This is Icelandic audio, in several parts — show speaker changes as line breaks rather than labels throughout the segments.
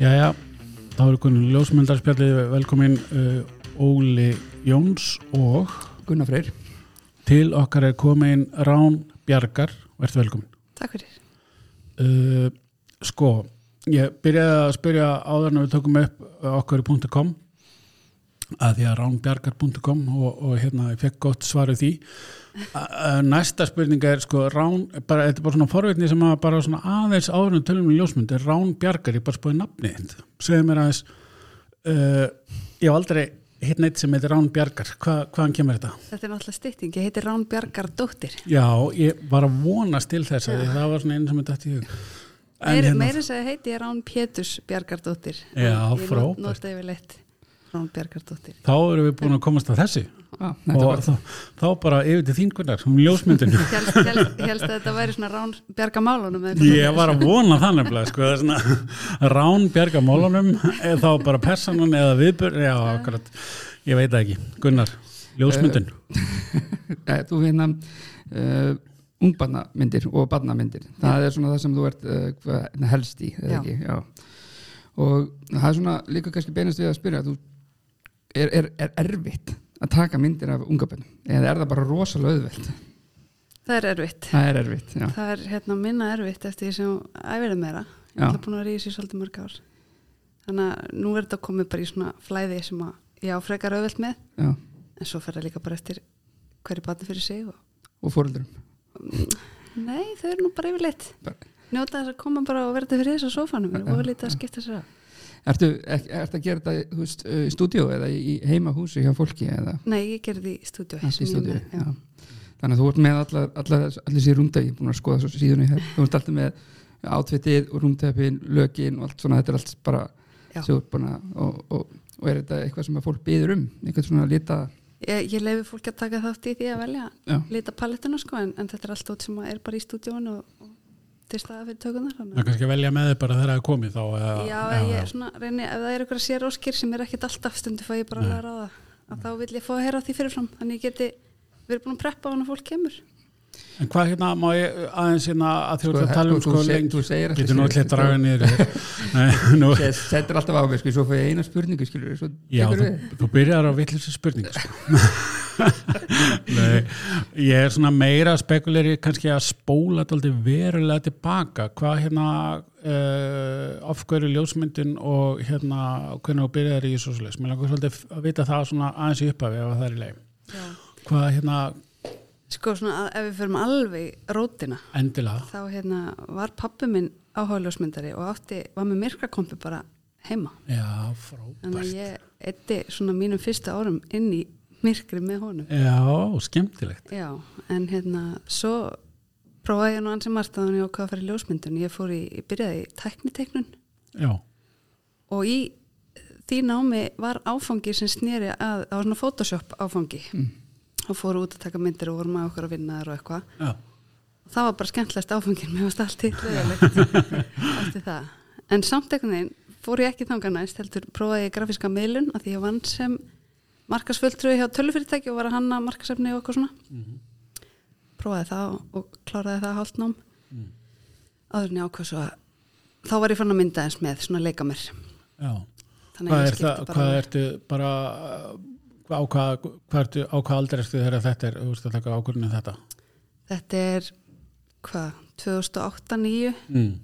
Jæja, þá er kunn ljósmyndarspjallið velkomin uh, Óli Jóns og
Gunnar Freyr
til okkar er komin Rán Bjarkar og ert velkomin.
Takk fyrir.
Uh, sko, ég byrjaði að spyrja áður en við tökum upp eh, okkur.com að því að ránbjarkar.com og, og hérna ég fekk gott svaru því Uh, næsta spurning er sko rán, bara, þetta er bara svona forvitni sem að bara svona aðeins áður en við tölum í ljósmynd er rán bjargar, ég bara spóði nafni þitt. segðu mér aðeins uh, ég hef aldrei hitt neitt sem heitir rán bjargar, Hva, hvaðan kemur þetta?
Þetta er náttúrulega stytting. Ég heiti Rán Bjargar Dóttir.
Já, ég var að vonast til þess að það var svona einu sem þetta í hug En
Meir,
hérna-
meira þess að heiti ég Rán Péturs Bjargar Dóttir.
Já,
ég
frábært.
Ég nota yfir leitt Rán Bjargar Dóttir.
þá erum við búin að komast að þessi
ah,
og þá, þá bara yfir til þín hvernig um ljósmyndinu
Helst, helst, helst að þetta væri svona Rán Bjargar Málunum.
Ég var að vona það nefnilega sko, það er svona, rán bjarga málunum eða þá bara personan eða viðbörn já, akkurat, ég veit það ekki Gunnar, ljósmyndin
Eh. Þú finna uh, ungbarnamyndir og barnamyndir það er svona það sem þú ert uh, hvað- helst í
Já.
eða ekki já. og það er svona líka kannski beinast við að spyrja þú, er, er, er erfitt að taka myndir af ungabönnum eða er það bara rosalega auðvelt
Það er erfitt.
það er erfitt, já,
Það er hérna minna erfitt eftir því sem æfirði meira. Ég
Já.
ætla búin að ríða sér svolítið mörg ár. Þannig að nú er þetta komið bara í svona flæði sem að ég á frekar auðvelt með.
já.
En svo fer það líka bara eftir hverju batni fyrir sig og
og fóröldurum
Nei, þau eru nú bara yfirleitt Njóta þess að koma bara og verða fyrir þess á sófanum og voru lítið að skipta sér af
Ertu, er, ertu að gera þetta þú veist, uh, í stúdíu eða í í heimahúsi hjá fólki eða
Nei, ég gerði í stúdíu
allt
sem
í
ég
stúdíu?
með,
Já.
já.
Þannig að þú ert með allar, allar, allir sér rúndegi, búin að skoða svo síðunni hér, þú ert alltaf með átveitið og rúndegin, lögin og allt svona, þetta er allt bara
Já.
sem þú ert búin að, og, og, og er þetta eitthvað sem að fólk byður um, eitthvað svona lita,
Ég, ég leifi fólki að taka þátt í því að velja
já,
lita palettuna sko en, en þetta er allt út sem er bara í stúdíun og, og til staða fyrir tökunar
Það er kannski að velja með þið bara þegar það er komið þá eða,
Já, já, ég svona reyni ef það er eitthvað sér óskir sem er ekkit alltaf stundu fæ ég bara alveg að ráða að þá vil ég fá að heyra því fyrirfram þannig ég geti verið búin að preppa hann að fólk kemur
En hvað hérna, má ég aðeins hérna að þjóta að tala um
þú
sko
seg-
lengi
þú segir alltaf
Getur nú allir draga niður Nei, nú,
Settir alltaf á mig, sko, svo fæ ég eina spurningu, skilur svo
Já,
tekur
þú,
við.
þú byrjar á vittlisir spurningu sko. Nei, ég er svona meira spekuleri kannski að spóla þetta aldrei verulega tilbaka hvað hérna uh, af hverju ljósmyndin og hérna hvernig þú byrjar í svo svolítið mér langar svolítið að vita það svona aðeins í upphafi ef það er í leið
Já.
hvað hérna
Sko svona að, ef við förum alveg rótina
endilega
þá hérna var pappi minn áhugaðljósmyndari og átti, var með myrkrakompi bara heima.
já,
Þannig að
frábært
ég eitti svona mínum fyrsta árum inn í myrkri með honum.
já, skemmtilegt
Já, en hérna svo prófaði ég nú ansi margt að hann ég ákvað að fara í ljósmyndun. Ég fór í, ég byrjaði í tækniteknun
já,
og í eh, því námi var áfangi sem snýri að, það var svona Photoshop áfangi og fóru út að taka myndir og vorum að okkur að vinna þar og eitthvað.
já,
og það var bara skemmtilegast áfengin mér varst allt hitlaðilegt eftir það en samt einhvern veginn fór ég ekki þangað næst heldur prófaði ég grafíska miðlun að því ég vann sem markasföldröði hjá tölufyrirtæki og var að hanna markasefni og eitthvað svona prófaði það og kláraði það hálfnám
Mhm. Mm.
áður en ég ákvað svo að þá var ég fann að mynda eins með svona leika mér
já
þannig
Hvað
að ég
er það,
skipti bara
hvað
með-
ertu bara hvað- á hvað, hvað ertu, á hvað aldrei ertu þegar þetta er, þú veist að taka ákvörðinu þetta
þetta er hvað, 2008-2009
mm.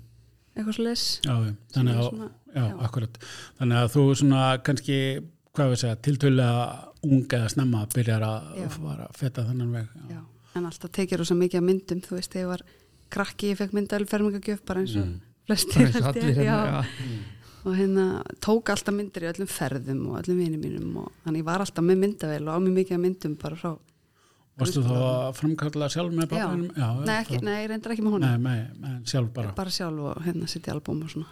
eitthvað svo leis
Já, já, þannig að,
Svona,
já,
já.
akkurat þannig að þú svona kannski hvað við segja, tiltölulega ung eða snemma byrjar að
Já.
fara að feta þennan veg
Já, en alltaf tekið rosa mikið af myndum, þú veist, þegar ég var krakki, ég fekk myndaðal fermingagjöf bara eins og
Bara
flestir
eins og
held ég,
allir hérna,
já.
já.
og hérna tók alltaf myndir í öllum ferðum og öllum vinum mínum og þannig ég var alltaf með myndavel og á mig mikið af myndum bara frá,
Varstu þá að framkalla sjálf með
já,
pappanum? Já,
nei, ekki,
frá-
nei, ég reyndar ekki með honum,
Nei, nei, nei, sjálf bara,
bara sjálf og hérna sitt í albúm og svona,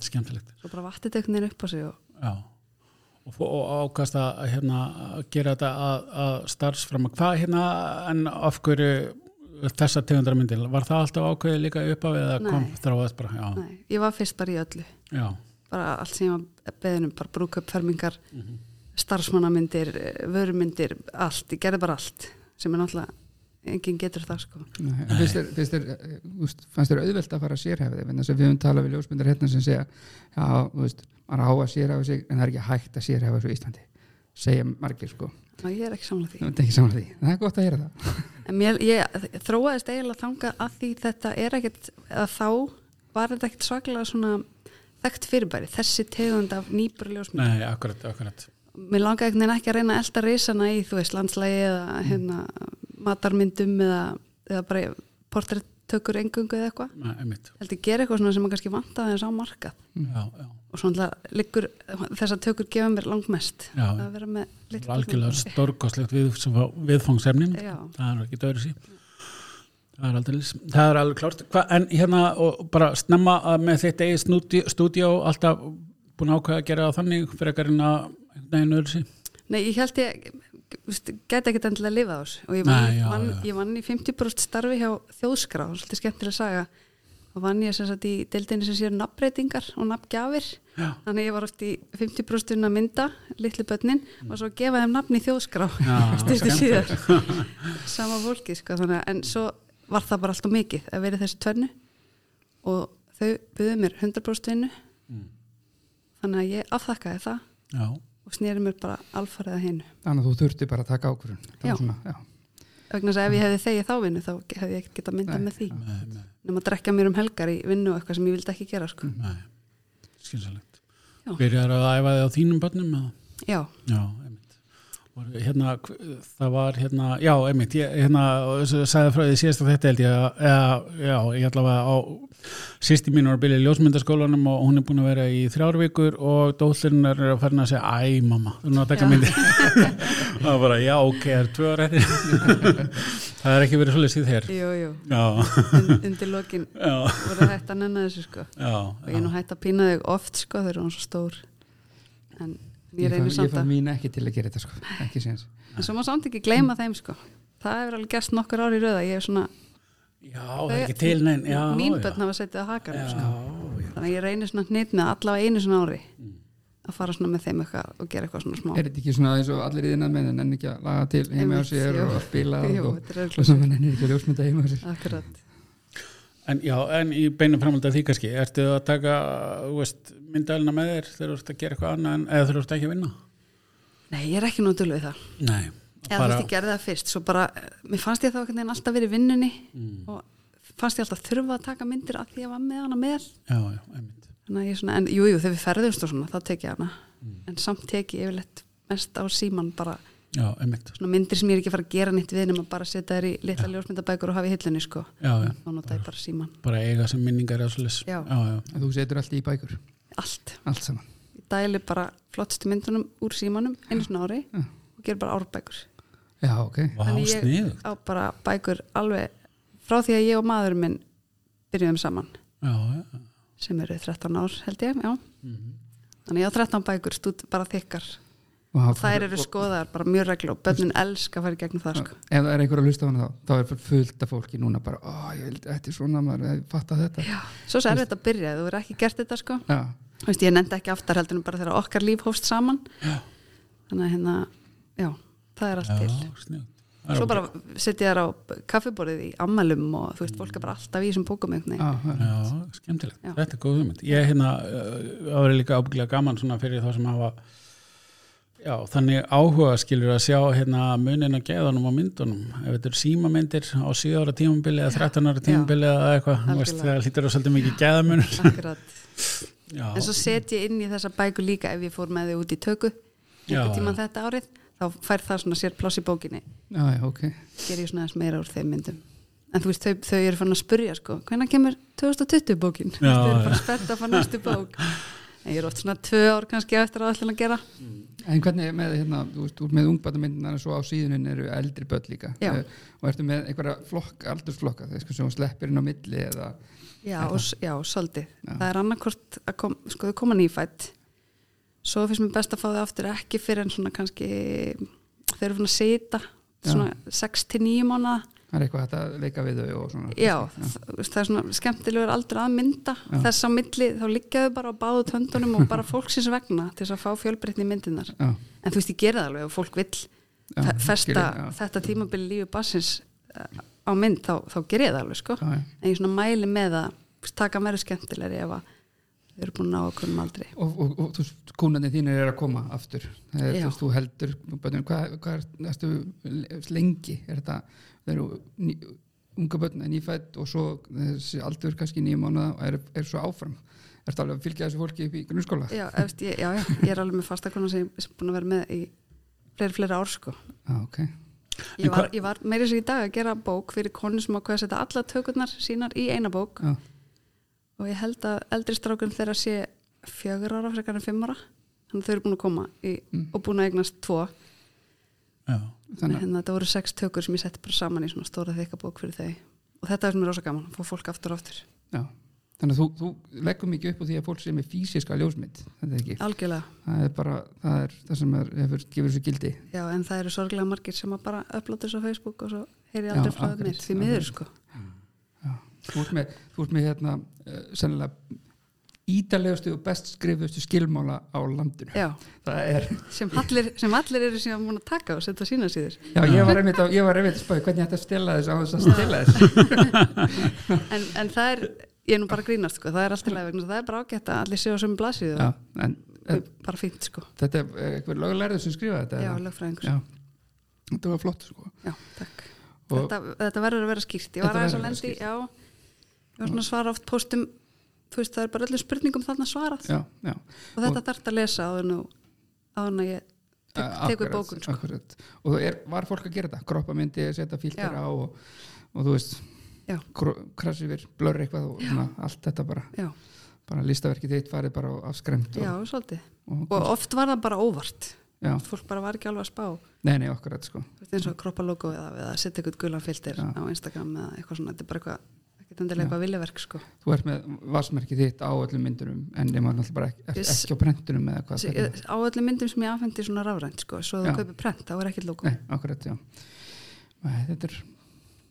skemmtilegt
svo bara vattið þetta einhvern veginn upp á sig og
Já og, fó- og ákast að hérna, að gera þetta að, að starfsfram hvað hérna en af hverju þessa tegundar myndir, var það alltaf ákveðið líka upp af eða
Nei.
kom þráðast bara já,
nei, ég var fyrst bara í öllu,
já,
bara allt sem ég var beðinum, bara brúka upp fermingar, starfsmannamyndir, eh, vörumyndir, allt, ég gerði bara allt sem er náttúrulega enginn getur það sko
Nei, en finnst þér, finnst þér, eh, þú veist, fannst þér auðvelt að fara að sérhæfa þig vegna þess að við höfum talað við ljósmyndar hérna sem segja já, þú veist, maður á að sérhæfa sig en það er ekki hægt að sérhæfa sig á Íslandi segja margir sko,
og ég er ekki samlega
það
því
er ekki saman því það er gott að heyra það
en mér, ég þróaðist eiginlega þangað að því þetta er ekkert eða þá var þetta ekkert svaklega svona þekkt fyrirbæri, þessi tegund af nýbur ljósmynd
Nei, akkurat, akkurat
mér langaði einhvern veginn ekki að reyna að elda risana í þú veist landslægi eða
Mm.
hérna, matarmyndum eða, eða bara portrættökur engungu eða eitthvað
Nei, einmitt
held ég gera eitthvað svona sem maður kannski vantaði þess á markað
Já, já
og svona alltaf liggur þessar tökur gefa mér langmest
Já.
að vera með
Það
litla
er algjörlega
svona-
stórkostlegt við, sem var viðfangsefnin
Já.
það er ekki döður sí það er aldrei það er alveg klárt Hva, en hérna og bara snemma að með þetta eigi stúdíó, stúdíó alltaf búin að ákveða að gera það þannig fyrir ekkar en að einhvern veginn öðru sí
Nei, ég held ég geta ekkert endilega að lifa þess og ég vann,
Nei, já,
vann,
já.
Ég vann í 50% starfi hjá þjóðskrá svolítið skemmtilega saga og vann ég sem sagt í deildinni sem séu nafnbreytingar og nafngjafir
Já.
þannig að ég var oft í 50% að mynda litlu börnin og svo gefa þeim nafn í þjóðskrá
Já,
styrtu
skemmtilegt.
síðar sama fólki sko þannig að- en svo var það bara alltaf mikið að vera í þessu tvennu og þau buðu mér 100% vinnu
Mm.
þannig að ég afþakkaði það
já,
og snýri mér bara alfarið að hinu
þannig að þú þurfti bara að taka ákvörun
Já.
svona, já.
vegna þess að ef ég hefði þegið þá vinnu þá hefði ég ekkert getað myndað
Nei,
með því
með, með,
nema að drekja mér um helgar í vinnu og eitthvað sem ég vildi ekki gera sko.
með skynsalegt
Já.
byrjar að æfa þið á þínum börnum eða?
já,
Já, einmitt. Og hérna, hv- það var hérna, já, einmitt, ég, hérna, þessu sagði frá því síðast að þetta held ég að, eða, já, ég allavega á, sýsti mín var að byrja í ljósmyndaskólanum og hún er búin að vera í þrjár vikur og dóllirinn er að fara að segja, æ, mamma, þú erum að taka
Já.
myndi. og það bara, já, ok, það er tvö ára eftir. það er ekki verið svolítið síð þér.
jú, jú
Já,
Und, undir lokin
já,
voru hægt að nenna þessu sko.
já,
og ég er nú hægt að pína þau oft sko, þau eru hún svo stór en ég
ég
reynir
fann, ég
samt
fann
að
mín ekki til að gera þetta sko. ekki séns
en svo má samt ekki gleyma þeim sko. það hefur alveg gerst nokkur ári í röða ég hef svona,
já, það er ekki til, nein, já,
Eh, mín
já.
börn hafa setið á hakan sko.
Já, já.
þannig að ég reynir svona hnýtt með allavega einu svona ári að fara svona með þeim eitthvað og gera eitthvað svona smá
er þetta ekki svona eins og allir í þinnan menn en ekki að laga til heima á
Einmitt,
sér
jú.
og að spila
Jú,
og,
þetta er
og sem hann er ekki að ljósmynda heima á sér
akkurat
En já, en í beinu framhald að því kannski, ertu að taka þú veist, myndalina með þér þegar þú ert að gera eitthvað annað en eða þegar þú ert ekki að vinna?
Nei, ég er ekki nóg dölvið það.
Nei.
Eða þú veist, ég gerði það fyrst, svo bara, eh, mér fannst ég þá einhvern veginn alltaf verið í vinnunni
Mm.
og fannst ég alltaf þurfa að taka myndir af því ég var með hana með.
Já, já, einmitt.
Þannig að ég svona, en jú, jú, þegar við ferðumst og svona, þá tek ég hana.
Mm.
En samt tek ég yfirleitt mest á síman bara
Já, einmitt.
svona myndir sem ég er ekki að fara að gera nýtt við nema bara að setja þær í litla ljósmyndabækur og hafa í hillunni, sko.
Já, já.
Þá nota ég bara síman.
Bara eiga sem minningar eða svolítið.
Já.
Já, já.
en þú setur allt í bækur,
Allt.
allt saman
Ég dæli bara flottstu myndunum úr símanum einu svona ári
Já.
og ger bara árbækur.
já, ok,
Vá,
Þannig ég-
sniðu.
á bara bækur alveg frá því að ég og maður minn byrjuðum saman
Já, já.
sem eru 13 ár held ég, já þannig ég á 13 bækur stúd bara þykkar
Vá,
þær eru skoðaðar bara mjög reglu og börnin elska að fara í gegnum það sko.
ef það er einhver að hlusta á hana þá þá er fullt af fólki núna bara ó, ég vildi, þetta er svona maður, ég fatta þetta já,
svo sér þetta að byrja, þú verður ekki gert þetta sko.
já,
Þú veist, ég nefndi ekki aftar heldur en bara þegar okkar líf hófst saman þannig að hérna, já, það er allt
Já,
til
sniðu.
svo bara setja þær á kaffiborðið í ammælum og þú veist, fólk er bara alltaf í þessum bókum einhvern veginn.
já.
Já, skemmtilegt.
Já.
Þetta er góð hugmynd. Ég hérna, uh, það var líka ábyggilega gaman svona fyrir þá sem hafa já, þannig áhuga skilur að sjá hérna munin að geðanum á myndunum. Ef þetta eru símamyndir á 7 ára tímabili eða 13 ára tímabili eða eitthvað, þú veist,
Algjörlega.
það lítur á svolítið mikið geðamunur.
akkurat
Ah. Já,
en svo set ég inn í þessa bæku líka ef ég fór með þau út í töku
Já,
einhvern tíman þetta árið, þá fær það svona sér pláss í bókinni,
já, já, ok
ger ég svona aðeins meira úr þeim myndum en þú veist, þau, þau eru fann að spurja sko, hvenær kemur 2020 bókin þau
Já,
eru bara
já.
spennt að fá næstu bók en ég er oft svona tvö ár kannski á eftir að ætla að gera
en hvernig með, hérna, þú veist, þú ert með ungbætamyndina svo á síðunin eru eldri börn líka
Já.
Eh, og ertu með einhverja flokk, aldursflokka þess að hún sleppir inn á milli eða,
já, og, s- já svolítið, það er annarkvort að kom, sko, þau koma nýfætt svo finnst mér best að fá þau aftur ekki fyrir en svona kannski þau eru fann að sita svona 6-9 mánuða
það er eitthvað hægt að leika við þau og svona
Já, þ- það er svona skemmtilegur aldrei að mynda þess á milli, þá liggjaðu bara á báðu töndunum og bara fólksins vegna til þess að fá fjölbreytni í myndinar
já,
en þú veist, ég gera það alveg og fólk vill
Já,
fe- festa
skilja, já.
þetta tímabili lífi bassins á mynd þá, þá ger ég það alveg sko.
Já, já.
en ég svona mæli með að þú veist, taka meira skemmtilegri ef að þau eru búin að ná okkur um aldrei
og, og, og þú veist, kúnandi þínir er að koma aftur það er,
Já.
þú veist, þú heldur bönnum, hvað, hvað er, erstu lengi er þetta, það eru ný, unga börn er nýfætt og svo þessi aldur kannski nýjum mánuða og er, er svo áfram ertu alveg að fylgja þessu fólki upp í grunnskóla
já, eftir, ég, já, já, ég er alveg með fastakona sem, sem búin að vera með í fleiri, fleiri ár sko.
ah, okay.
En
ég, var,
hvað-
ég var meira sér í dag að gera bók fyrir konu sem ákveða að setja alla tökurnar sínar í eina bók
já,
og ég held að eldri strákun þeirra sé fjögur ára frekar en fimm ára þannig að þau eru búin að koma í, og búin að eignast tvo
já,
þannig
þannig að
að Hérna, þetta voru sex tökur sem ég setti bara saman í svona stóra þykka bók fyrir þau og þetta er sem er rosa gaman, að fá fólk aftur og aftur
já. Þannig að þú, þú leggur mikið upp á því að fólk sem er fysiska ljósmynd, þetta er ekki.
algjörlega,
Það er bara, það er það sem er, hefur gefur þessu gildi.
já en það eru sorglega margir sem að bara upplata þessu á Facebook og svo heyri aldrei
Já,
frá
akkurat,
mér, því miður
akkurat.
sko
Já. Þú ert með, þú ert með hérna uh, sennilega ídalegustu og best skrifustu skilmála á landinu.
já,
Það er,
sem allir, sem allir eru síðan múin að taka og setja sína síður
já ég var einmitt, á, ég var einmitt að spáði hvernig ég ætti að stela þess á þess að stela þess.
en, en það er, ég er nú bara að grínast sko það er alltaf leið vegna, þess að það er bara ágætt að allir séu á sömu blaðsíðu
Já, en, en
og bara fínt sko,
þetta er eitthvað lögulærið sem skrifaði þetta.
já,
eða?
lögfræðingur já.
já. Þetta var flott sko.
takk
Og-
þetta, þetta verður að vera skýrt ég var
Þetta
aðeins
verður
að
að vera
lendi, já ég var svona að svara oft póstum þú veist, það er bara öllum spurningum þarna svarað
Já, já.
og þetta þarf að lesa áður nú áður en að ég tek, tekur
Eh, Akkurat,
bókun sko.
akkurat. og það er, var fólk að gera þetta kroppamyndi, setja filter
Já.
á og, og þú veist
Já.
kro- krassi yfir, blörr eitthvað og svona, allt þetta bara,
já,
bara listaverkið þitt farið bara á- afskræmt
já,
og,
svolítið
og,
og oft var það bara óvart
já,
fólk bara var ekki alveg að spá þú
nei, nei, akkurat sko
veist, eins og kroppalogo eða, eða setja eitthvað gulan filter
Já.
á Instagram eða eitthvað svona þetta er bara eitthvað, ekkert endilega eitthvað viljaverk sko.
þú ert með vassmerkið þitt á öllum myndunum en nema náttúrulega bara ekki, ekki,
Yes.
ekki á prentunum eða hvað
Þessi-
hvernig-
á öllum myndum sem ég afhendi svona rafrænt sko, svo
Já.
þú kaupir prent, þá er ekkert logo
nei, akkurat, já nei, þetta er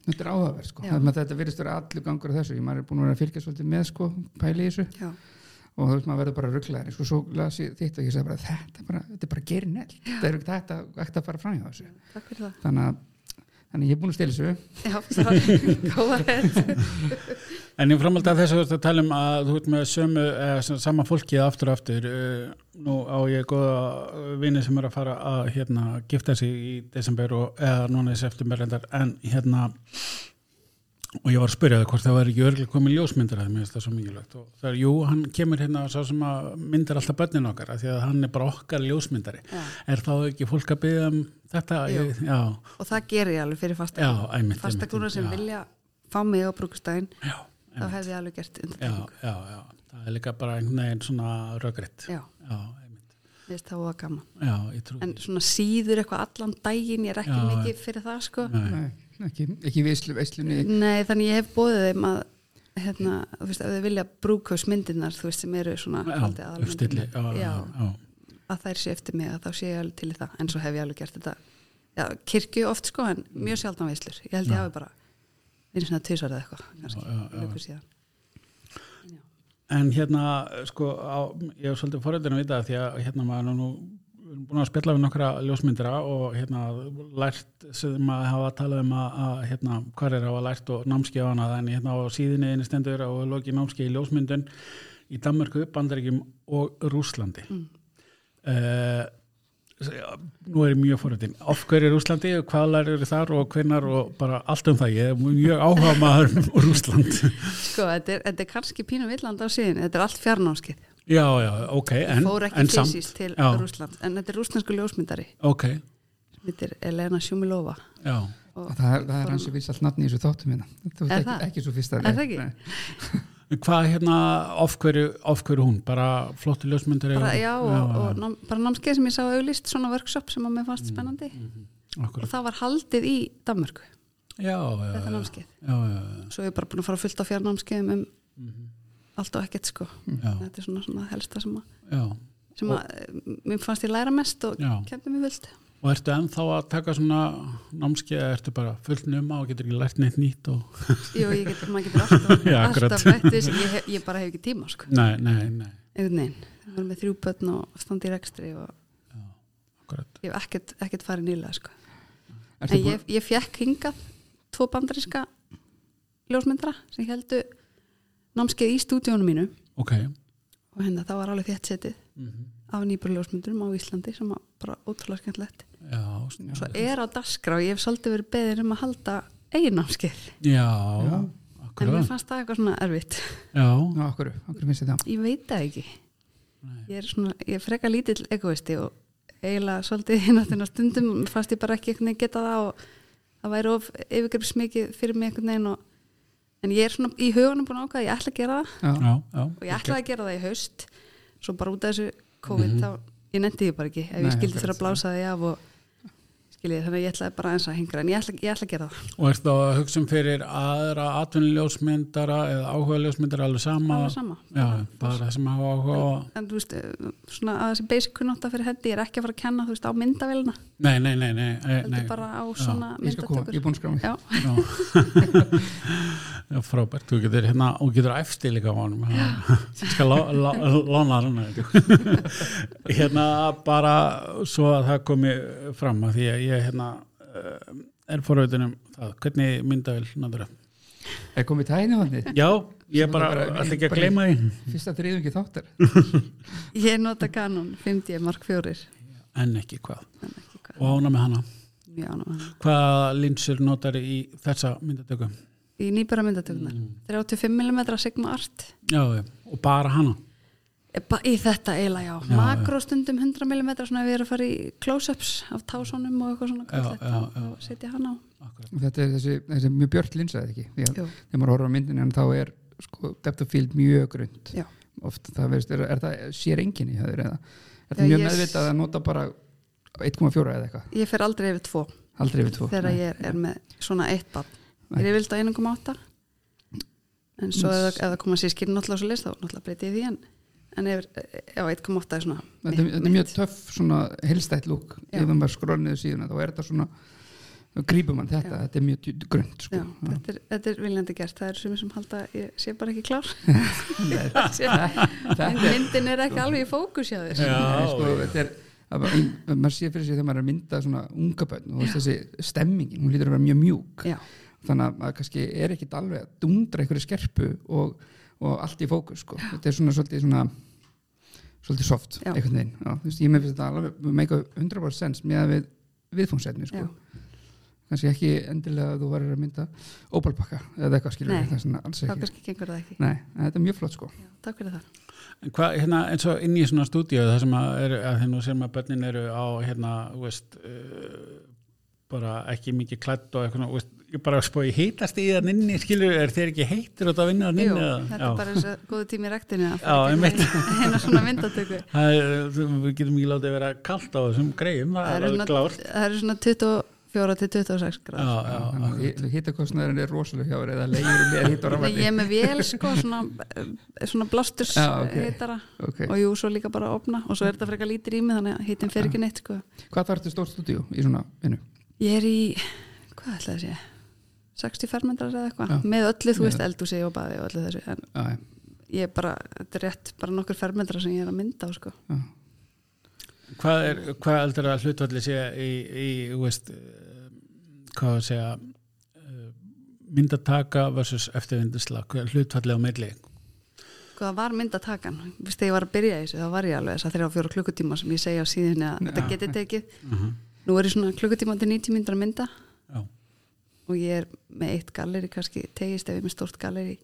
þetta er áhugaverð sko,
Já.
þannig að þetta virðist vera allur gangur á þessu, ég maður er búin að vera að fylgja svolítið með sko, pæli í þessu
já,
og þú veist maður verður bara rugglaðir sko, svo las ég þitt og ég sagði bara þetta er bara, þetta er bara gerinell það er ekki hægt að, hægt að fara fram hjá þessu
takk fyrir það
þannig að, þannig að ég er búin að stila þessu
já, sorry, go ahead
En ég framhaldi að þess að þú ert að tala um að þú ert með sömu, eða sem- sama fólkið aftur og aftur. eh, Nú á ég góða vini sem er að fara að hérna, gifta sig í desember og eða núna í september endar. En hérna, og ég var að spyrja það hvort það var ekki örglega komið ljósmyndir að mér finnst það svo mikilvægt. Og það er, jú, hann kemur hérna sá sem að myndir alltaf bönnin okkar, af því að hann er bara okkar ljósmyndari.
Já.
Er þá ekki fólk að byggja um þetta?
Jú.
Ég, já,
og það gerir ég alveg fyrir fasta
já, æmitt.
fastakúra sem vilja fá mig á brúkustæðin
Já,
þá hefði ég alveg gert
já,
undantekningu.
já, já, það er líka bara einhvern veginn svona röggritt
já,
já, einmitt.
mér finnst það var gaman
já, ég trú
en svona síður eitthvað allan daginn ég er ekki
Mhm. Já,
mikið fyrir það sko
Nei.
Nei, ekki, ekki veislu, veislunni
nei, þannig ég hef bóðið þeim að hérna, þú veist, ef þau vilja brúkhausmyndirnar þú veist, sem eru svona haldið
já, uppstilli
aðalmyndirnar.
já, já, já,
að þær sé eftir mig að þá sé ég alveg til í það en svo hef ég alveg gert þetta já, kirkju oft sko, en
Mm.
mjög sjaldan veislur ég held ég hafi bara einu svona tvisar eða eitthvað, kannski,
Já, já, já.
löngu síðan já,
en hérna, sko á, ég er svolítið foröldin að vita það því að hérna maður er nú við erum búin að spjalla við nokkra ljósmyndira og hérna lært sem að hafa talað um að, að hérna hvar er að hafa lært og námskeið á hana en hérna á síðinni einu stendur og loki námskeið í ljósmyndun í Danmörku, Bandaríkjum og Rúslandi mm. nú er ég mjög foröldin af hverju er Rúslandi, hvað lærir eru þar og hvennar og bara allt um það ég er mjög áhuga maður um Rúsland
Sko, þetta er, þetta er kannski pínu villand á síðan, þetta er allt fjarnámskið.
já, já, ok, en,
Fór ekki
en samt
fysiskt til
já,
Rússland, en þetta er rússlandsku ljósmyndari,
ok,
sem heitir Elena Sjumilova.
já
Og,
það, er- það er hans viss allt nafni í þessu þáttum minna
Er
þú veist
það?
ekki, ekki svo fyrsta
Er það ekki?
En hvað hérna, af hverju, af hverju hún bara flottu ljósmyndir
bara, já, og, og nám, bara námskeið sem ég sá auðlist, svona workshop sem að mér
Mm,
fannst spennandi.
Akkurat.
Og það var haldið í Danmörku,
já, já,
þetta
já,
námskeið.
já, já,
Svo ég er bara búin að fara fullt á fjarnámskeiðum um allt og ekkert, sko.
já,
Þetta er svona, svona helsta sem að,
já.
sem að eh, mér fannst ég læra mest og
Já.
kendi mér vilt.
og ertu ennþá að taka svona námskeið, eða ertu bara fullt nema og getur ekki lært neitt nýtt og
Jú, ég get, maður getur alltaf,
Já, akkurat.
alltaf bætt við sig, ég, hef- ég bara hef ekki tíma, sko.
nei, nei, nei,
einhvern veginn, það var með þrjú börn og standi í rekstri og
akkurat
ég hef ekkert, ekkert farið nýlega sko.
Er
en ég, ég fekk hingað tvo bandaríska ljósmyndara sem heldu námskeið í stúdíónu mínu
ok
og hérna það var alveg þétt setið
Mhm.
af nýbúru ljósmyndurum á Íslandi sem var bara ótrúlega skemmtilegt
Já, snjá.
svo er á dasgrá, ég hef svolítið verið beðin um að halda eiginnámskeið
já,
Já.
en mér
akkurat
fannst það eitthvað svona erfitt
já,
Ná, okkur, okkur finnst þið það
ég veit það ekki ég er, svona, ég er freka lítill egoisti og eiginlega svolítið hérna þennan stundum fannst ég bara ekki einhvern veginn geta það og það væri of yfirgrips mikið fyrir mig einhvern veginn og, en ég er svona í huganum búin að ákvæða að ég ætla að gera það
Já,
já, já,
og ég ætlaði að gera það í haust svo bara út af þessu COVID þá ég nefndi því bara ekki ef
Mhm. Nei,
ég skildi
akkurat,
þurra að blása því af og skiljið þannig að ég ætlaði bara eins að hingra en ég ætla, ég ætla að gera það
og er þá að hugsa um fyrir aðra atvinnuljósmyndara eða áhuga ljósmyndara alveg sama,
alveg sama
já, bara það sem hafa áhuga á
en þú veist, eh, svona að þessi basic kunnóta fyrir hendi, ég er ekki að fara að kenna þú veist á myndavélina,
nei, nei, nei, nei, nei,
heldur
nei.
bara á svona
ég skal koma,
myndatökur
ég er búin að skrá mig
Já,
Já. já, frábært, þú getur hérna og getur æfti líka á honum ég skal lá- lá- lána hann hérna bara svo að það komi fram að því að ég hérna eh, er forveitunum það, hvernig myndavel náttúrulega
Er komið tæðinu þannig?
Já, ég
Svona
bara
bara-
ætla ekki að
bara-
gleyma því
Fyrsta þriðungi þáttar
ég nota Canon 50 Mark 4
En ekki hvað
en ekki hvað,
Og ána með hana
mjög ánum hann
Hvaða linsur notar í þessa myndatöku?
í nýbæra myndatökunar,
Mm.
35mm Sigma Art
Já, já, og bara hana
Eh, ba- í þetta eiginlega já,
Já,
já makrostundum 100mm svona ef ég er að fara í close-ups af tásónum og eitthvað svona
Já, já,
kallett,
já.
þá- þá setja hann á
Akkurat.
Þetta er þessi, þessi mjög björt linsaði ekki Því að
Jú.
Þegar maður horfir á myndinu en þá er sko, depth of field mjög grund
Já.
Oft það verðist, er, er það sér enginni hjá þér eða
Já,
Er það mjög
ég-
meðvitað að nota bara 1,4 eða eitthvað
ég fer aldrei yfir 2
Aldrei við tvo
þegar ég er, er með svona eitt bann ég er vilt á 1,8 en svo
Yes.
yes. eða koma sískinn náttúrulega svo list þá náttúrulega breyti ég því en en yfir, eh, já, 1,8 er svona
þetta, er- þetta er mjög töff svona helstætt lúk
Já.
ef maður skróniðu síðuna þá er þetta svona þá grípur mann þetta, þetta er mjög djú- grunnt sko.
Já, þetta er, þetta er viljandi gert, það er sumir sem halda að ég sé bara ekki klár Sé-
þetta
mynd- myndin er ekki alveg í fókus hjá þér
Já,
Nei, sko,
já.
þetta er það er bara ein- maður sé fyrir sig þegar maður er að mynda svona unga bönn og veist þessi stemmingin, hún lítur að vera mjög mjúk
Já,
þannig að maður kannski er ekkit alveg að dundra einhverju skerpu og, og allt í fókus sko. þetta er svona svolítið svona svolítið soft
Já.
einhvern veginn já, þú veist, ég með finnst þetta alveg make 100% sense með að við viðfóngsefni sko.
já,
kannski ekki endilega að þú varir að mynda óbalbakka eða eitthvað skilur
Nei,
það er svona alls
þá
ekki
kannski gengur það ekki
Nei, en þetta er mjög flott sko
já, Takk fyrir það
En hvað, hérna, eins og inn í svona stúdíu það sem að er, að því nú sem að börnin eru á hérna, þú veist uh, bara ekki mikið klætt og eitthvað, þú veist, ég bara spói hýtast í það inni, skilur, er þeir ekki heitir út að vinna það
Jú,
inni? eða?
þetta
Já.
er bara eins og góðu tími í rektinu að
Já,
fara í
einmitt.
gegnum eina svona myndatöku
Það er, við getum ekki látið að vera kalt á þessum greiðum, það
það
er
eru
alveg
svona,
klárt.
það eru svona 24 til 26
Já,
gráð
já, já.
hittakostnaðurinn er rosalega hjá þér eða leiður með hitt og
Ég
rafandi
er með vél sko svona, eh, svona blasturs
Já, ok.
hitara
okay.
og jú, svo líka bara að opna og svo er þetta frekar lítir í mig þannig að hitin fer ekki neitt sko.
Hvað þarftu stórt stúdíu í svona vinnu?
Ég er í, hvað ætlaði að sé 60 fermetrar eða
Já.
eitthvað með öllu, þú
Með
veist, eldúsi og baði og öllu þessu en
Já,
ég er bara, þetta er rétt bara nokkur fermetrar sem ég er að mynda á sko.
já.
Hvað er, hvað heldur að hlutvalli sé í, í þú veist, eh, hvað að segja, eh, myndataka versus eftirvindisla, hvað er hlutvalli á milli?
Sko það var myndatakan, Vist, þegar ég var að byrja í þessu þá var ég alveg þess að þrjá fjóra klukkutíma sem ég segja á síðunni að þetta
Já.
geti tekið
Uh -huh.
nú er ég svona klukkutíma til 90 myndar að mynda
Já,
og ég er með eitt galleri kannski tegist ef ég er með stórt galleri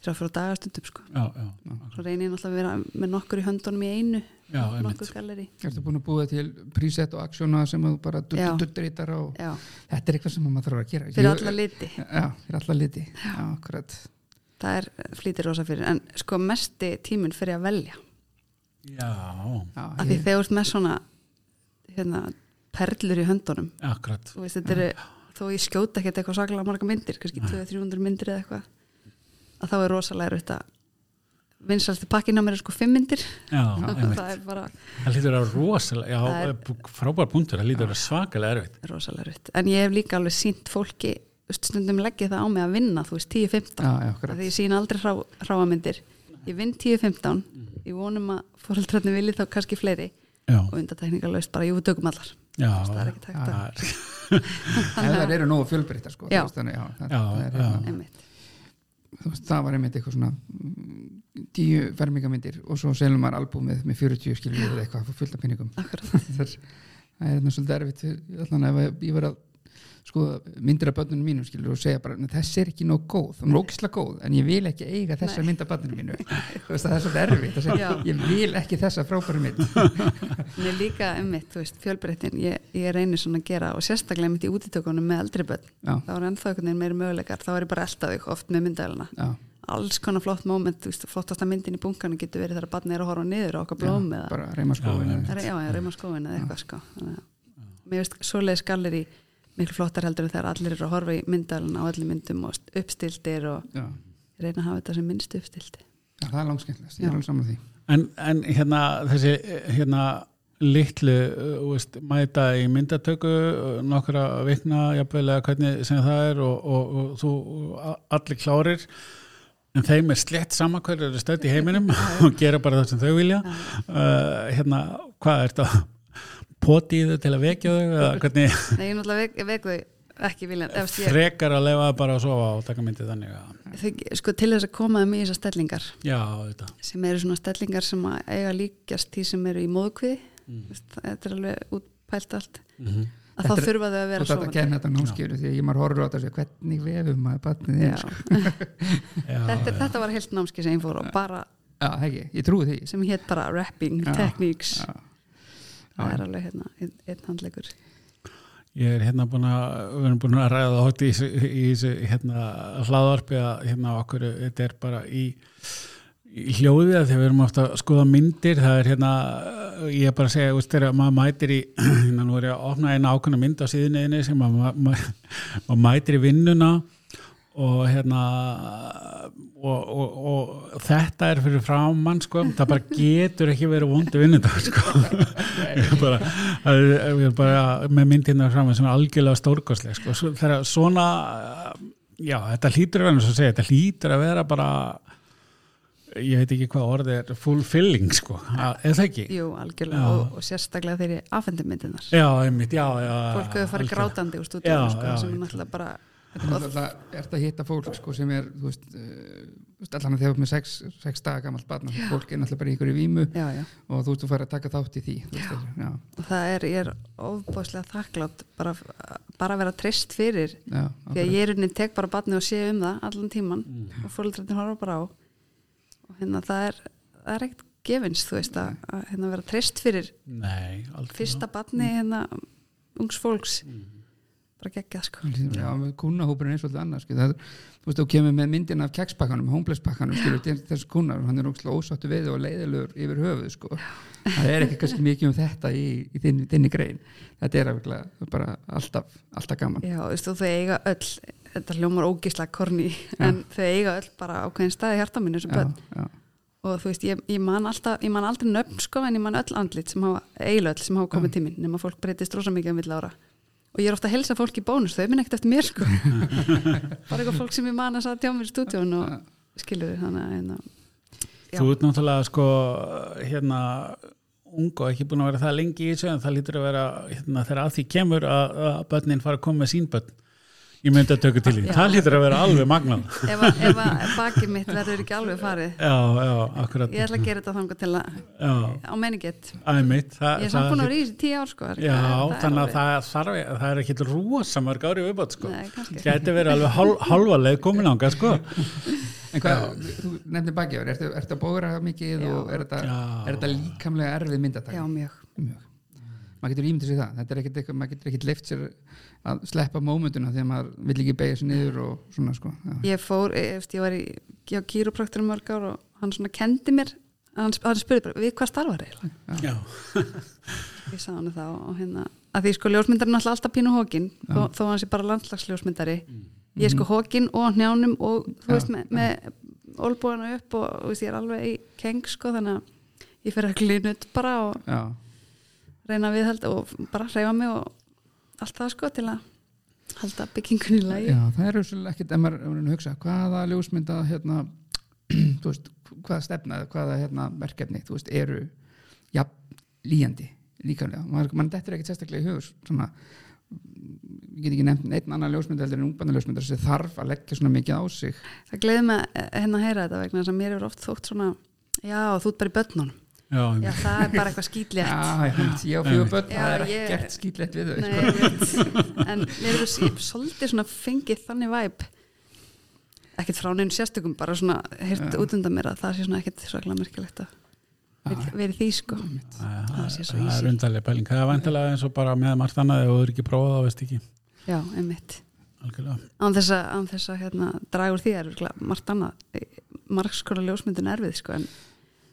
þrjá fjóra dagastundum sko
já, já,
svo reynir ég náttúrulega að vera með nokkur í höndunum í einu
já, einmitt.
nokkur galleri
Ertu búin að búa til preset og aksjóna sem þú bara
Já.
duttritar og
Já,
þetta er eitthvað sem maður þarf að gera
fyrir
Ég-
alla liti
Já, fyrir alla liti Já, akkurat
það er flýtir rosa fyrir en sko mesti tíminn fyrir að velja
Já,
Já,
af því
ég,
þegar þú ert með svona hérna, perlur í höndunum
akkurat.
þú veist, þetta eru, þó ég skjóta ekkert eitthvað svakalega marga myndir, kannski 200-300 myndir eða eitthvað, að þá er rosalega erfitt að vinsalstu pakkin á mér er sko 5 myndir
Já, einmitt.
það er bara
Það lítur að vera rosalega,
Það
já,
er-
frábær punktur, það lítur að vera svakalega erfitt.
rosalega erfitt, en ég hef líka alveg sínt fólki, þú veist, stundum leggja það á mig að vinna, þú veist, 10-15
já, já,
af
akkurat
því ég sín aldrei hrá, hráamyndir ég vinn 10-15, ég vonum að fórhaldrarnir vilji þá kannski fleiri
Já,
og undartekningarlaust bara, jú, við tökum allar
já,
það er ekki takt að
það er-
ef þær eru nógu fjölbreytta sko,
Já.
þú veist, þannig, já, það,
Já,
það, er,
já.
hérna,
einmitt,
þú veist, það var einmitt eitthvað svona mm, tíu fermingamyndir og svo selum maður albúmið með 40 skiljum eða eitthvað fullt af pinningum
akkurat
það er það er hérna svolítið erfitt fyrir- allan ef ég- ég var að sko myndir af börnunum mínum skilur og segja bara "Nei, þessi er ekki nóg góð, hún er ógislega góð en ég vil ekki eiga þessa mynd af börnunum mínu þú veist það er svolítið erfitt að segja
Já.
ég vil ekki þessa frábæru mynd
Mér líka einmitt, þú veist, fjölbreyttin ég, ég reynir svona að gera og sérstaklega einmitt í útitökunum með eldri börn
já,
þá er ennþá einhvern veginn meiri möguleikar þá er ég bara alltaf ykkur oft með myndavélina
já,
alls konar flott moment, þú veist, flottasta myndin í bunkanum getur verið þar að barni er að horfa niður á okkar blóm eða
bara reyma sko,
Já,
skóin
einmitt.
Það er- já, ég reym á skóin eða eitthvað sko Þannig að mér veist svoleiðis galleri miklu flottar heldur en þegar allir eru að horfa í myndalina á öllum myndum og uppstildir og
já,
reyna að hafa þetta sem minnst uppstildi
já, það er langskemmtilegast, ég er alveg saman því
en, en hérna þessi hérna litlu uh, veist, mæta í myndatöku uh, nokkra vikna, jafnvel eða hvernig sem það er og, og, og þú a- allir klárir en þeim er slett sama hverju eru stödd í heiminum og gera bara það sem þau vilja uh, hérna, hvað er þetta poti í þau til að vekja þau eða hvernig
Nei, ég náttúrulega vek, vek þau ekki vilja ef ég,
frekar að lefa bara að sofa og taka myndið þannig að,
þau, sko, til þess að koma þeim í þessar stellingar
já, þetta
sem eru svona stellingar sem að eiga líkjast því sem eru í móðkviði mm. þetta er alveg útpælt allt
mm -hmm.
að
Þetta
þá
er-
þurfa þau að
og
vera
þetta
sofandi
kenna þetta námskilu því að ég maður horfður á þetta og segja hvernig vefum maður barnið
Já.
er sko.
þetta, þetta var heilt námski sem ég fór og bara
já, það ekki, ég trúi því
sem hétt bara rapping,
Já.
techniques
já,
það er alveg hérna einn einn handleikur
Ég er hérna búin að, við erum búin að ræða það hótt í þessu- í þessu hérna hlaðvarpi að hérna okkur, þetta er bara í, í hljóði að þegar við erum ofta að skoða myndir, það er hérna, ég er bara að segja, þú veist, þegar maður mætir í, hérna nú er ég að opna eina ákveðna mynd á síðunniðinni sem maður, ma- ma- maður mætir í vinnuna og hérna og, og, og þetta er fyrir framann sko, það bara getur ekki verið vondu vinnundag sko ég er bara, ég er bara með myndina fram sem er algjörlega stórkostleg sko. Svo- þegar svona já, þetta hlýtur að vera eins og segja, þetta hlýtur að vera bara ég veit ekki hvað orðið er fulfilling sko, að- er það ekki?
Jú, algjörlega
Já.
og, og sérstaklega þeirri afhendumyndunar
Já, einmitt, já, já
fólk hefur farið
algjörlega.
grátandi úr
Já,
stúdíu sko,
já,
sem
ég-
er náttúrulega bara
Þetta er alltaf, ert að hitta fólk sko, sem er, þú veist, uh, allan að þegar með sex, sex daga gamalt barn fólk er náttúrulega bara í einhverju vímu
já, já.
og þú veist, þú fær að taka þátt í því þú veist, já, já,
og það er, ég er ofbáslega þakklátt bara, bara að vera trist fyrir
já,
því að ég er unni tek bara batni og sé um það allan tíman og fólitrættin horfa bara á og hérna það er, það er ekkert gefins þú veist að, að hérna vera trist fyrir
Nei, aldrei
fyrsta batni hérna ungs fólks bara geggjað sko
ákveðlega. já, með kúnahópurinn er svolítið annars sko, það, er- þú veist, þú kemur með myndina af kekspakkanum, homelesspakkanum, skilur, til þess kúnar hann er ókslega ósáttu við og leiðilegur yfir höfuð, sko, það er ekki kannski mikið um þetta í, í þinni, þinni grein þetta er alveg bara alltaf alltaf gaman,
já, þú veist, og þau eiga öll þetta hljómar ógislega korni en þau eiga öll bara ákveðin staði í hjarta mínu þessu börn
já,
og þú veist, ég, ég man alltaf, ég man aldrei nöfn sko, en ég man öll andlit sem hafa, eiginlega öll sem hafa komið til mín, nema fólk breytist rosa mikið um vill ára. Og ég er ofta að helsa fólk í bónus, þau minn ekkert eftir mér sko. Bara eitthvað fólk sem ég man að satt hjá mér í stúdíun og skilur þannig að hérna, Já.
Þú ert náttúrulega sko hérna ung og ekki búin að vera það lengi í þessu en það lítur að vera hérna, þegar að því kemur að, að börnin fara að koma með sín börn í myndatöku til því.
Já.
Það lítur að vera alveg magnað.
ef, að- ef að bakið mitt verður ekki alveg farið.
Já, já, akkurat.
Ég ætla að gera þetta þangar til að,
Já,
á menninget.
æmitt. Það,
Ég er samt búin að
það-
vera í þessi tíu ár sko. það er-
Já,
það er
þannig að
alveg-
það, þarf, það er ekkit rosa mörg ári viðbót sko.
Nei, kannski.
Gæti verið alveg hál, hálfa leið komin ánga sko.
En hvað, þú nefndir bakjáður, ertu, ertu að bóra mikið
Já.
og er þetta,
Já.
er þetta líkamlega erfið myndatak?
Já, mjög.
Mjög. Maður getur ímyndið sér það, þetta er ekkit eitthvað, maður getur ekkit leift sér að sleppa mómentuna þegar maður vill ekki beigja sér niður og svona sko. Já,
ég fór, ég, veist, ég var í hjá kýróprakturum mörg ár og hann svona kendi mér hann, sp- hann spurði bara, við hvað starfar eiginlega
Já,
ég sagði hann það og hérna að því sko ljósmyndari er náttúrulega alltaf pínu hókin þó, þó hann sé bara landslagsljósmyndari ég er sko hókin og á hnjánum og þú
Mm. Já,
veist með, með olbúana upp og þú veist, ég er alveg í keng sko þannig að ég fer að glýnut bara og
já,
reyna að viðhalda og bara hreyfa mig og allt það sko til að halda byggingunni í lagi
já það er svolítið ekkit, ef maður ef maður er að hugsa, hvaða ljósmynda, hérna, þú veist, hvaða stefna, eða hvaða hérna, verkefni, þú veist, eru jafn líjandi líkanlega, maður, maður dettur ekkert sérstaklega í hugur svona, ég get ekki nefnt einn annan ljósmynd heldur en ungbanna ljósmyndar sem þarf að leggja svona mikið á sig
það gleði mig að- hérna að heyra þetta vegna þess að mér er oft þótt svona já, þú ert bara í börnunum
já,
já,
já,
það er bara eitthvað skýtlétt
Já, ég veit, ég á fjögur börn,
Já,
það er
ég-
ekkert skýtlegt við þau
Nei,
sko.
ég veit. en mér hefur sí- svolítið svona fengið þannig væp ekkert frá neinn sérstökum bara svona hirt
Já.
út undan mér að það sé svona ekkert svaklega merkilegt að vil- verið því sko
það,
sé svo
það
easy.
er undarlega pæling það er vantilega eins og bara með margt annað ef þú er ekki prófað þá veist ekki
já, einmitt
algjörlega
án þess að, án þess að hérna, dragur því er örugglega margt annað margskóla ljósmyndin er erfið sko en,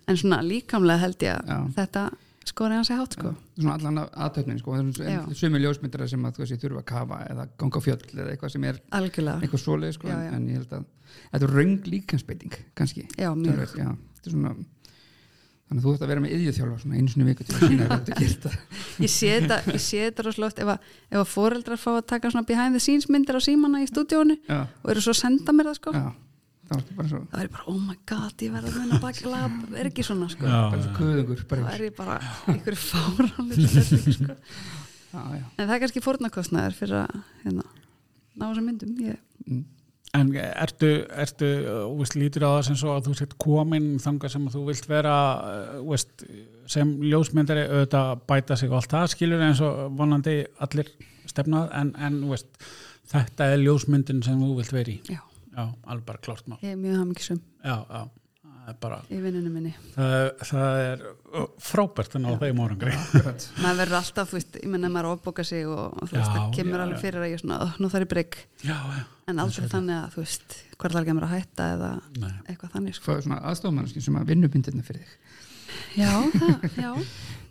en svona líkamlega held ég að
Já.
þetta skori hans í hátt sko
svona allan aðtöfnin sko. Það eru
Já.
en- sumir ljósmyndar sem að þú veist, þurfa að kafa eða ganga á fjöll eða eitthvað sem er
algjörlega,
eitthvað svoleið sko.
Já, já.
en ég held að þetta er röng líkansbeiting kannski
já, mjög
Tölvöld, já, þetta er svona þannig að þú ætti að vera með yðjöþjálfa svona einu sinni í viku til að sína þetta gilda
ég sé þetta, ég sé þetta rosalega oft ef að, ef að foreldrar fá að taka svona behind the scenes myndir á símanna í stúdíónu
já,
og eru svo að senda mér það sko
já, þá er þetta bara svo
það er ég bara, oh my god, ég verða að muna baki lab er ekki svona sko
Já,
bara svo kuðungur
þá
bara,
er ég bara einhverju fáránlega setning sko
já, já,
en það er kannski fórnarkostnaður fyrir að hérna, ná þessum myndum ég,
mm,
En ertu, ertu uh, veist, lítur á það sem svo að þú sett komin þangað sem þú vilt vera uh, veist, sem ljósmyndari auðvitað bæta sig og allt það skilur eins og vonandi allir stefnað en, en þú veist, þetta er ljósmyndin sem þú vilt vera í
já,
Já, alveg bara klárt mál
ég er mjög hafmyggisum
Já, já, það er bara
í vinnunum minni
það, er- það er uh, frábært en á þeim árangri
akkurat
maður verður alltaf, þú veist, ég menna maður ofboka sig og, og þú
Já,
veist, það kemur
já,
alveg
já.
fyrir að ég er svona, "Ugh, nú þarf ég breyk
Já, já,
en aldrei þannig að, þú veist, hvað er það að mér að hætta eða
nei
eitthvað þannig sko.
hvað er svona aðstofmannskin sem að vinnu bindirna fyrir þig
já, það, já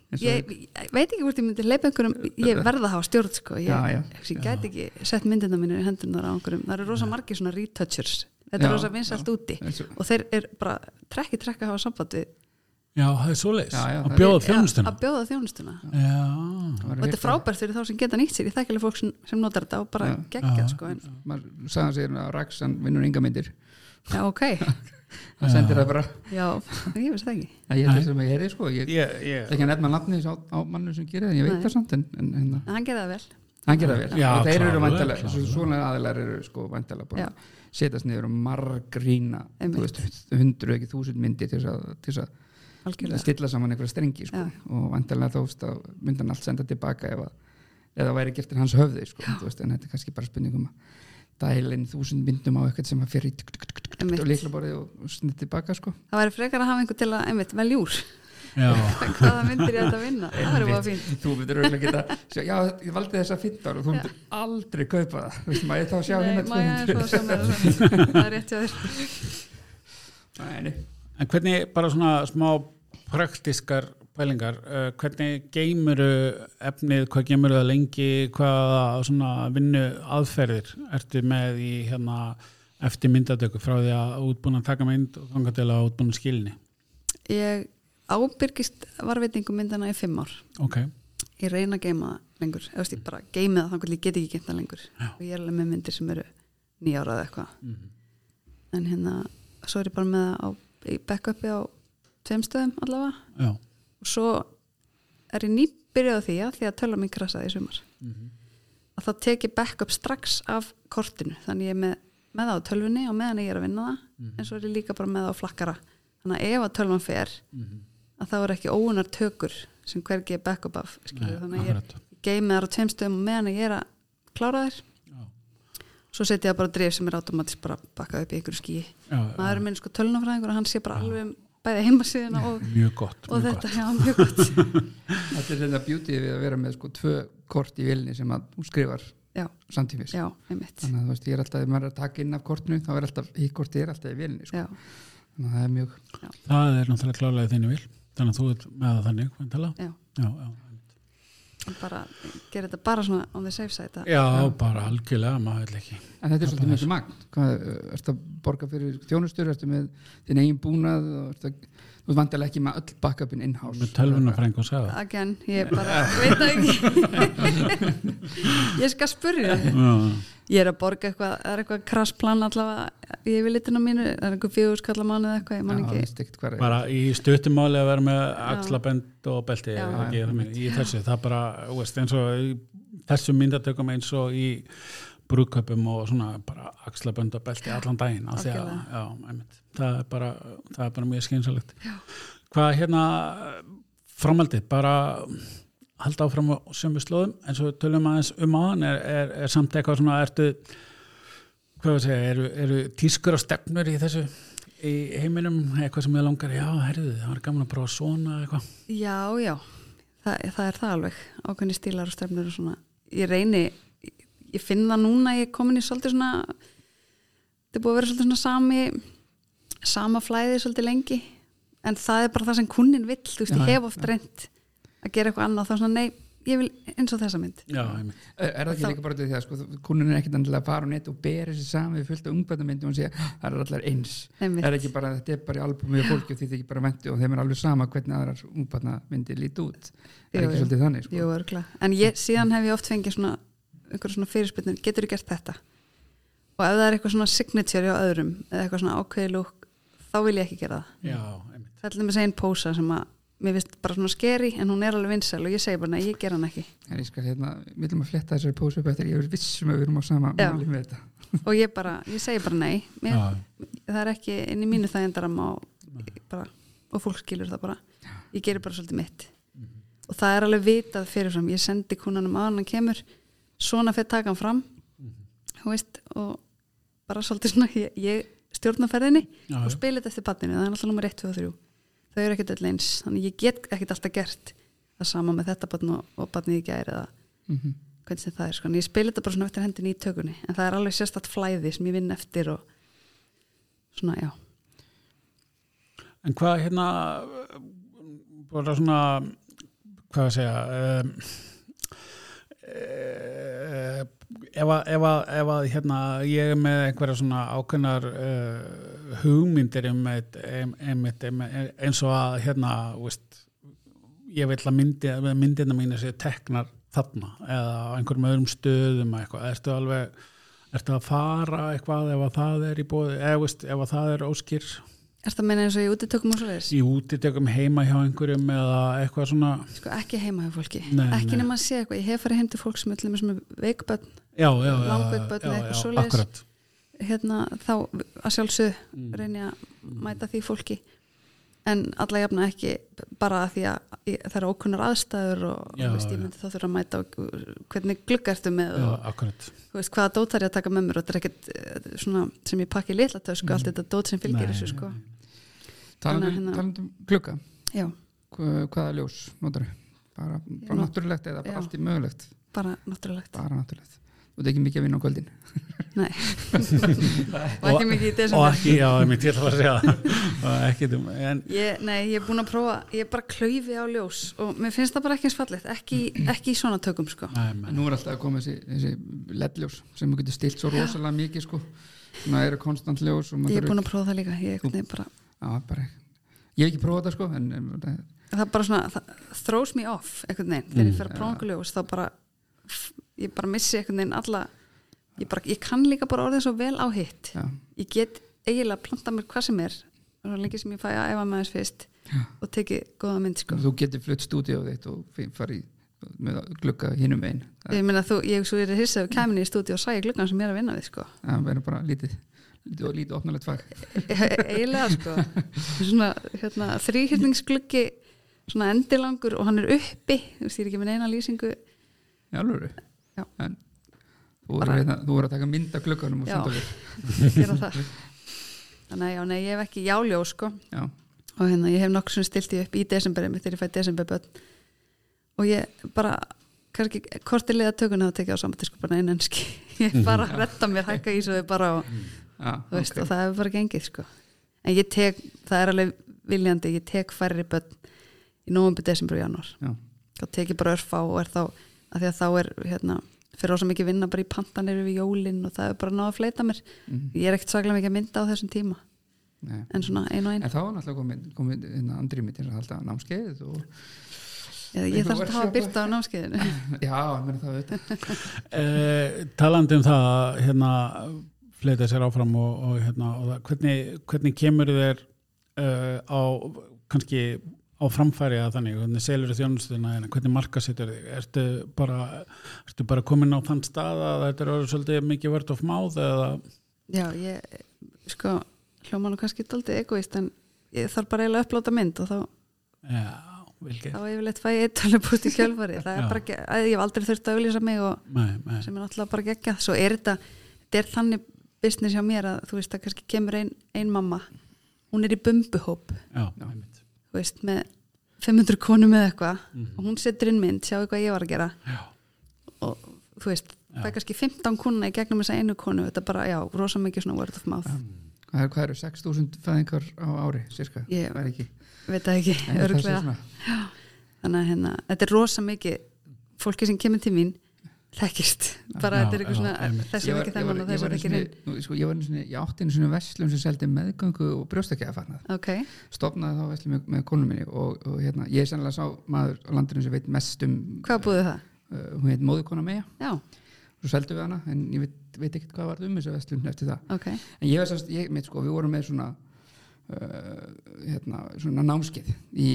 Eins og-
ég, ég veit ekki hvort ég myndi leipa einhverjum ég verða að hafa stjórn sko ég,
Já, já.
ég gæti ekki sett myndina mínu í hendunar á einhverjum, það eru rosa margir svona retouchers þetta
Já,
er rosa vinsalt
já.
úti
eins og-
og þeir eru bara trekki trekki að hafa samband við
Já, það er svoleiðis
Já, já,
að
það-
bjóða
að-
þjónustuna
að bjóða þjónustuna
Já,
maður
og þetta er
heyrt að-
frábært fyrir þá sem geta nýtt sér ég þekkilega fólk sem, sem notar þetta og bara
Já.
Já.
geggjað sko en,
maður sagði hann sér að Raksan vinnur ynga myndir
já, ok,
hann sendir það bara
já, ég veist það ekki
að ég held sem að ég heyri sko ég
ég, ég
ætla ekki að nefna nafni á, á mannu sem gerir það, ég veit
Nei.
það samt en, en, hérna- en
en hann gerði það vel
hann gerir það vel
Já,
Og þeir
klárlega,
eru vandalega,
klárlega.
svona aðilar eru sko vandalega búin að setjast niður og margrína
Einmitt.
þú veist, hundru ekki þúsund myndir til þess að, til þess að
algjörlega
stilla saman einhverja strengi sko.
Já.
og vandalega þófst að myndan allt senda tilbaka ef að eða væri gert til hans höfði sko, þú veist, en þetta er kannski bara spurningum að dælin þúsund myndum á eitthvað sem að fyrir í tuk, tuk, tuk, tuk,
Einmitt.
og líklaborðið og snið tilbaka sko.
það væri frekar að hafa einhver til að, einmitt, veljúr
Já
hvaða myndir ég ætti að vinna það væri bara fínt
þú myndir auðvitað geta sjá, já, ég valdi þess að fynda og þú myndir aldrei kaupa það Þú veist, maður ég þá sjá
Nei,
hérna
má ég aðeins fá að sjá meira af þessu? það er rétt hjá þér
Nei, nei.
En hvernig, bara svona smá praktiskar pælingar, uh, hvernig geymuru efnið, hvað geymuru það lengi, hvaða svona vinnu aðferðir ertu með í hérna eftir myndatöku frá því að útbúin að taka mynd og ganga til að útbúin að skilni?
ég ábyrgist varveitingu myndana í fimm ár
Ok,
ég reyna að geima það lengur eða þú veist, ég bara geimi það þannig að ég get ekki geimt það lengur
Já.
og ég er alveg með myndir sem eru nýjárað eitthvað
Mhm.
en hérna, svo er ég bara með það á, í backupi á tveim stöðum allavega
já.
og svo er ég nýbyrjuð á því að því að tölva mín krasaði í sumar
Mhm.
að þá tek ég backup strax af kortinu þannig ég er með, með það á tölvunni og meðan ég er að vinna það
Mhm.
en svo er ég líka bara með það á flakkara þannig að ef að tölvan fer
Mhm.
að það voru ekki óunar tökur sem hvergi ég er backup af skilur,
Mhm.
þannig að ég
akkurat.
geimi þar á tveim stöðum og meðan ég er að klára þær
Já,
svo setja ég það bara á drif sem er automatist bara bakkað upp í einhverju skíi
já,
maður er minn sko tölunafræðingur og hann sé bara alveg um bæði heimasíðina og,
mjög gott,
og
mjög
þetta
gott.
já, mjög gott
Þetta er þetta beauty við að vera með sko tvö kort í vilni sem að þú skrifar
Já.
samtímis
já, einmitt
þannig að þú veist, ég er alltaf, ef maður er að taka inn af kortinu þá er alltaf, hitt kortið er alltaf í vilni sko.
já,
þannig að það er mjög
Það er náttúrulega klárlega þinni vil, þannig að þú ert með það þannig, vantala.
já,
Já, já.
En bara gera þetta bara svona on the safe side að-
Já, bara algjörlega, maður vil ekki.
en þetta er svolítið mikið magn Hvað, uh, ertu að borga fyrir þjónustur, ertu með þinn eigin búnað og ertu að, þú veist vandilega ekki með öll backupin in-house
Með tölvuna fræng og sagði.
again, ég bara veit það ekki ég skal spurja
Já, já.
ég er að borga eitthvað, það er eitthvað krassplan allavega ég vil litin á mínu, það er einhver fjögur skallamánu eða eitthvað, ég man
það
ekki
veist ekkert hvað er
bara í stuttumáli að vera með axlabend og belti
Já.
eða ekki, það meina, í þessu, það bara þú veist, eins og í þessum myndatökum eins og í brúköpum og svona bara axlabönd og belti allan daginn af því að,
Algjörlega.
já, einmitt, það, er bara, það er bara mjög skeinsalegt hvað hérna framhaldið, bara halda áfram á sömu slóðum eins og við tölum aðeins um aðan er, er, er samt eitthvað svona, ertu hvað var að segja, eru, eru tískur og stefnur í þessu í heiminum, eitthvað sem ég langar já, herðu, það var gaman að prófa svona eitthvað
já, já, Þa, það er það alveg ákveðni stílar og stefnur og svona ég reyni, ég, ég finn það núna ég er komin í svolítið svona þetta er búið að vera svolítið svona sami sama flæði svolítið lengi en það er bara það sem kunnin vill þú veist,
Já,
ég
já,
hef oft reynt að gera eitthvað annað, þá svona, nei, ég vil eins og þessa mynd
já, einmitt,
Er, er það ekki
Þá-
líka bara til því að sko, kunin er ekkit endilega að fara á net og bera sér saman við fullt af ungbændamyndum og segja "Ah, það er allar eins
Einmitt.
er ekki bara, þetta er bara í albumi og fólki og því þykir bara væntu og þeim er alveg sama hvernig aðrar ungbændamyndir líti út er
Jú,
ekki
jú.
svolítið þannig sko?
Jú, örgla. En ég, síðan hef ég oft fengið svona einhverjum svona fyrirspynnir, getur þú gert þetta? Og ef það er eitthvað svona signature á öðrum eða eitthvað svona ákveði lúk þá vil ég ekki gera það.
já, einmitt
Það er með segja einn pósa sem að mér finnst bara svona skeri en hún er alveg vinsæl og ég segi bara, nei, ég ger hann ekki.
en ég skal hérna, við viljum að fletta þessari pósu upp eftir ég er vissum að við erum á sama
Já.
máli með þetta
Og ég bara, ég segi bara nei. Mér,
já,
það er ekki inn í mínu þægindaram og, bara, og fólk skilur það bara. Ég gerir bara svolítið mitt. Og það er alveg vitað fyrirfram. Ég sendi kúnanum að hann kemur, svona fyrir taka hann fram þú veist, og bara svolítið svona, ég, ég stjórna ferðinni
já,
og spila þetta eftir badninu, það er alltaf nummer 1, 2 og 3 þau eru ekkert öll eins, þannig ég get ekkert alltaf gert það sama með þetta badn og, og badnið í gæri eða
mm -hmm.
hvernig sem það er, sko, en ég spila þetta bara svona eftir hendinni í tökunni, en það er alveg sérstætt flæði sem ég vinn eftir og svona, já,
En hvað hérna bara svona hvað að segja um, eh, ef að, ef að, ef að hérna, ég er með einhverja svona ákveðnar uh, hugmyndir um eitt, um, um eitt, um, eins og að hérna, þú veist, ég vil að myndi, myndina mínu sér teknar þarna eða á einhverjum öðrum stöðum eða eitthvað, ertu alveg ertu að fara eitthvað ef að það er í bóði eða þú veist, ef að það er óskýr
er það meina eins og ég úti tökum og svo leiðis,
í útitökum heima hjá einhverjum eða eitthvað svona
sko, ekki heima hjá fólki
Nei,
ekki
nei.
nema að sé eitthvað, ég hef farið heim til fólk sem öllum sem er veikbönn,
já, já, já,
Langveik
já,
börn eða eitthvað
já,
svoleiðis.
akkurat
hérna, þá að sjálfsög
mm.
reyni að mæta því fólki en alla jafna ekki bara að því að ég- það eru ókunnar aðstæður og
Já,
já, veist, ég
já.
myndi þá þurfa að mæta og hvernig glugga ertu með
já,
og
akkurat
þú veist, hvaða dót þarf ég að taka með mér og þetta er ekkert eh, svona sem ég pakki í litla tösku, allt þetta dót sem fylgir
Mm. Nei.
þessu sko.
talandum,
Þannig að hérna-
talandum um- glugga
Já,
hva- hvaða ljós notar bara, bara
Ég not-
náttúrulegt eða bara
Já.
allt í mögulegt
bara náttúrulegt
bara náttúrulegt þú ert ekki mikið að vinna á kvöldin
Nei, og ekki mikið í
og
desember
ekki, já, ég til að segja það Og ekki, um, en
ég, Nei, ég er búin að prófa, ég er bara klaufi á ljós og mér finnst það bara ekki eins fallegt ekki, ekki í svona tökum sko
næm,
En nú er alltaf að koma þessi, þessi ledljós sem þú getur stilt svo rosalega mikið sko. Ná eru konstant ljós og
Ég er
maður þarf
búin að prófa það líka, ég, ég bara
ekki- Já, bara Ég hef ekki prófað þetta sko, en, en það-
það er bara svona, það throws me off einhvern veginn, þegar
Mm,
ég fer að prónguljós þá bara, ég bara missi einhvern veginn alla, ég, bara, ég kann líka bara orðið svo vel á hitt
já,
ég get eiginlega að planta mér hvað sem er svo lengi sem ég fæ að æfa með þess fyrst og teki góða mynd sko
þú getur flutt stúdíu þitt og fi- farið í- með að glugga hinum einn það,
ég meina þú, ég svo er að hissa þú kæmin í stúdíu og sæja gluggan sem ég er að vinna við sko E,
það verður bara lítið lítið, og lítið opnulegt fag
eiginlega sko svona hérna, þrýhyrningsgluggi svona endilangur og hann er uppi þú veist ég er ekki með neina lýsingu
Já, alveg
Já.
en, þú, er
Bara-
að, þú er að taka mynd af glugganum og
Já.
senda okkur
gera það þannig að já, nei, ég hef ekki jáljó sko
Já,
og hérna, ég hef nokkuð svona stilt því upp í desember einmitt þegar ég fæ desemberbönn og ég bara, kannski korti liða tökuna þá tekja á saman sko bara einenski ég bara retta mér, hækka í svo bara og,
já
þú veist,
Ah, ok.
og það hefur bara gengið sko en ég tek, það er alveg viljandi ég tek færri bönn í november, desember og januar
Já.
þá tek ég bara örfa og er þá að því að þá er hérna fyrir ósa mikið vinna bara í pantanir yfir jólin og það er bara náða að fleita mér
Mhm.
ég er ekkert svaklega mikið að mynda á þessum tíma
Nei.
en svona ein og ein
En þá er náttúrulega komið, komið inn að andri mitt til að halda námskeið og
Ég, ég þarf að hafa byrta á námskeiðinu
Já, ég meina það auðvitað
Eh, talandi um það hérna, fleita sér áfram og, og, hérna, og það, hvernig, hvernig kemur þér uh, á kannski á framfæri að þannig, hvernig selur þér þjónustuna hérna, hvernig markasettur þig, ertu bara ertu bara komin á þann stað að þetta er orðið svolítið mikið vörd of máð eða,
Já, ég, sko, hljóma nú kannski doldið egoist, en ég þarf bara eiginlega að uppláta mynd og þá,
já, vilki
þá yfirleitt fæ ég eitt tölupúst í kjölfari. Það
Já.
er bara ekki, að ég hef aldrei þurft að auðlýsa mig og
nei, nei,
sem er náttúrulega bara geggjað. Svo er þetta, þetta er þannig business hjá mér að þú veist að kannski kemur ein, ein mamma, hún er í bumbuhóp,
já, einmitt
þú veist, með 500 konum eða eitthvað
Mhm.
og hún setur inn mynd, sjáu hvað ég var að gera
já,
og þú veist,
Já.
það er kannski 15 konuna í gegnum þessa einu konu, þetta er bara, já, rosa mikið svona word of mouth,
Hvað er- hvað eru 6.000 fæðingar á ári, cirka?
Ég-
Það er ekki.
veit það ekki,
En það sé
örglega
svona-
þannig að hérna, þetta er rosa mikið fólki sem kemur til mín þekkist, bara
Já,
þetta er eitthvað
já,
svona
einmitt.
þessi
Ég
er ekki
var- ég var-
þennan og
ég
þessi
var
er
einu
ekki hinn
sinni- nú, sko, Ég var einu sinni, ég átti einu sinni verslum sem seldi meðgöngu og brjóstakjafarnað
ok,
stopnaði þá verslum með, með konum minni og, og hérna, ég er sannlega sá maður á landinu sem veit mest um
hvað búðu það?
uh, hún heit móðukona meja,
Já,
svo seldum við hana en ég veit, veit ekkert hvað varð um þessu verslun eftir það
ok,
en ég var sannst, ég, með, sko, við vorum með svona uh, hérna, svona námskeið í